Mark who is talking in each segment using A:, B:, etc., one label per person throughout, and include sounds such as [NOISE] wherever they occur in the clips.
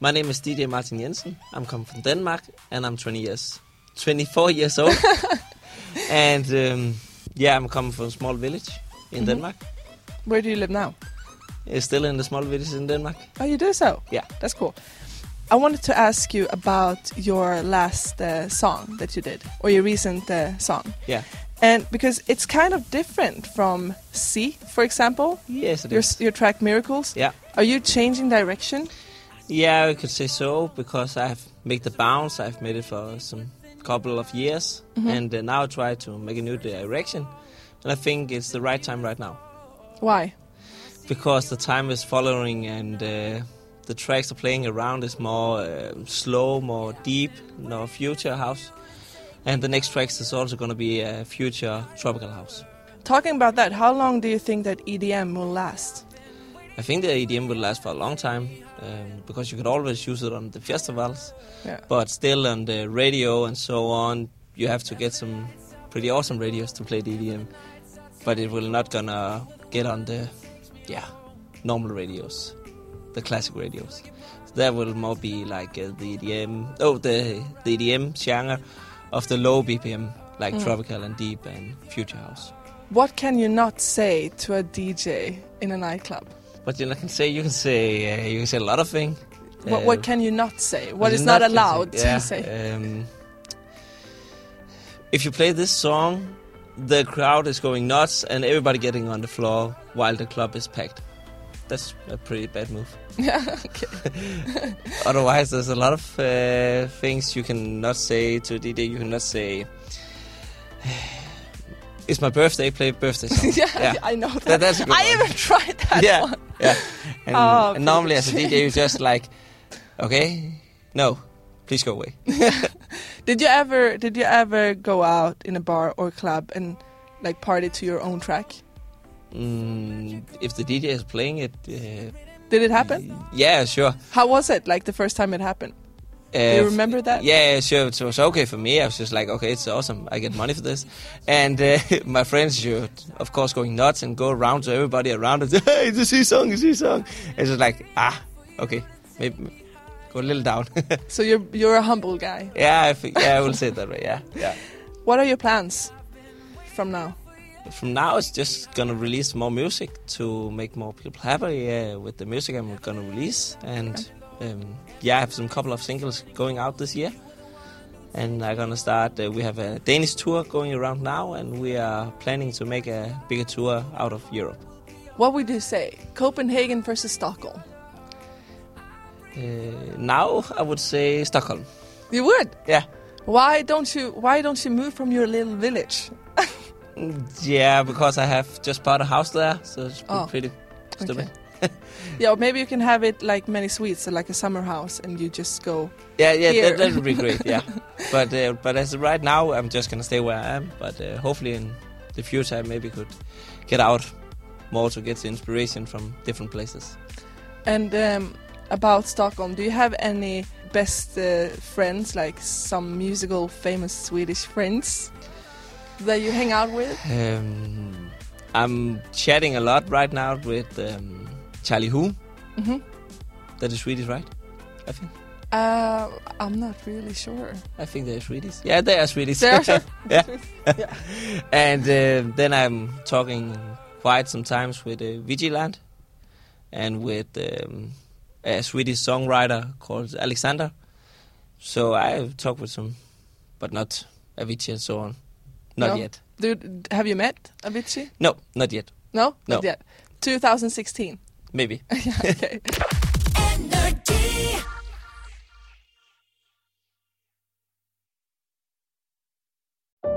A: My name is DJ Martin Jensen. I'm come from Denmark, and I'm 20 years, 24 years old. and um, yeah, I'm coming from a small village in Denmark.
B: Where do you live now?
A: Uh, still in the small village in Denmark.
B: Oh, you do so?
A: Yeah.
B: That's cool. I wanted to ask you about your last uh, song that you did, or your recent uh, song.
A: Yeah.
B: And because it's kind of different from C, for example,
A: Yes, it
B: your,
A: is.
B: your track Miracles.
A: Yeah.
B: Are you changing direction?
A: Yeah, I could say so because I've made the bounce. I've made it for some couple of years, and uh, now I try to make a new direction. And I think it's the right time right now
B: Why?
A: because the time is following and uh, the tracks are playing around is more uh, slow, more deep, no future house. And the next tracks is also going to be a future tropical house.
B: Talking about that, how long do you think that EDM will last?
A: I think the EDM will last for a long time um, because you could always use it on the festivals,
B: Yeah.
A: but still on the radio and so on, you have to get some pretty awesome radios to play the EDM. But it will not gonna get on the yeah normal radios, the classic radios. That will more be like uh, the EDM, oh the the EDM genre of the low BPM, like
B: Mm.
A: tropical and deep and future house.
B: What can you not say to a DJ in a nightclub?
A: But you can say you can say uh, you can say a lot of things. Uh,
B: what, what can you not say? What
A: It's
B: is not,
A: nothing
B: allowed
A: yeah,
B: to say?
A: Um, if you play this song, the crowd is going nuts and everybody getting on the floor while the club is packed. That's a pretty bad move.
B: [LAUGHS] Yeah, okay.
A: [LAUGHS] Otherwise, there's a lot of uh, things you cannot say to DJ. You cannot say, [SIGHS] "It's my birthday. Play birthday song."
B: [LAUGHS] yeah, I know that.
A: that's a good
B: I
A: one.
B: even tried
A: [LAUGHS]
B: that
A: yeah,
B: one.
A: yeah. And,
B: Oh,
A: and normally, as a
B: please.
A: DJ, you
B: [LAUGHS]
A: just like, "Okay, no, please go away."
B: Did you ever did you ever go out in a bar or club and like party to your own track?
A: Mm, if the DJ is playing it, uh,
B: Did it happen?
A: yeah, sure.
B: How was it like the first time it happened?
A: Uh,
B: you remember that?
A: Yeah, sure. It was okay for me. I was just like, okay, it's awesome. I get money for this, and uh, [LAUGHS] my friends should, of course, going nuts and go around to everybody around and say, [LAUGHS] hey, it's a C song, it's a C song. It's just like, ah, okay, maybe go a little down. [LAUGHS]
B: So you're you're a humble guy.
A: yeah, I think, yeah, I will say it that way. Yeah, yeah.
B: What are your plans from now?
A: From now, it's just gonna release more music to make more people happy uh, with the music I'm gonna release, and um, yeah, I have some couple of singles going out this year, and I'm gonna start. Uh, we have a Danish tour going around now, and we are planning to make a bigger tour out of Europe.
B: What would you say? Copenhagen versus Stockholm.
A: Uh, now, I would say Stockholm.
B: You would.
A: Yeah,
B: Why don't you why don't you move from your little village?
A: Mm, yeah, because I have just bought a house there, so it's
B: Oh,
A: pretty stupid.
B: okay. Yeah, or maybe you can have it like many suites, so like a summer house and you just go
A: Yeah, yeah,
B: here.
A: that, that would be great. Yeah, but uh, but as of right now, I'm just gonna stay where I am. But uh, hopefully, in the future, I maybe could get out more to get the inspiration from different places.
B: And um, about Stockholm, do you have any best uh, friends, like some musical famous Swedish friends that you hang out with?
A: Um, I'm chatting a lot right now with um, Charlie Who.
B: Mhm.
A: That is Swedish, right? I think.
B: Uh, I'm not really sure.
A: I think they're Swedish. Yeah, they are Swedish.
B: They are Swedish.
A: [LAUGHS] yeah. [LAUGHS] and uh, then I'm talking quite sometimes with uh, Vigilant and with um, a Swedish songwriter called Alexander. So I talk with some, but not Avicii and so on. Not
B: No?
A: yet.
B: Do, have you met Avicii?
A: No, not yet.
B: No,
A: No.
B: not yet. 2016.
A: Maybe.
B: yeah, okay.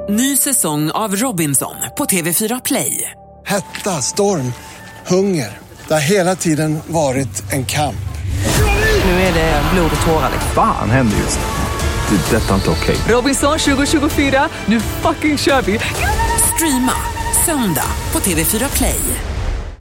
C: Ny säsong av Robinson på TV4 Play.
D: Hetta, storm, hunger. Det har hela tiden varit en kamp.
C: Nu är det blod och tårar. Liksom.
E: Fan händer just nu. Det. är Detta är inte okej.
C: Robinson 2024, nu fucking kör vi! Streama söndag på TV4 Play.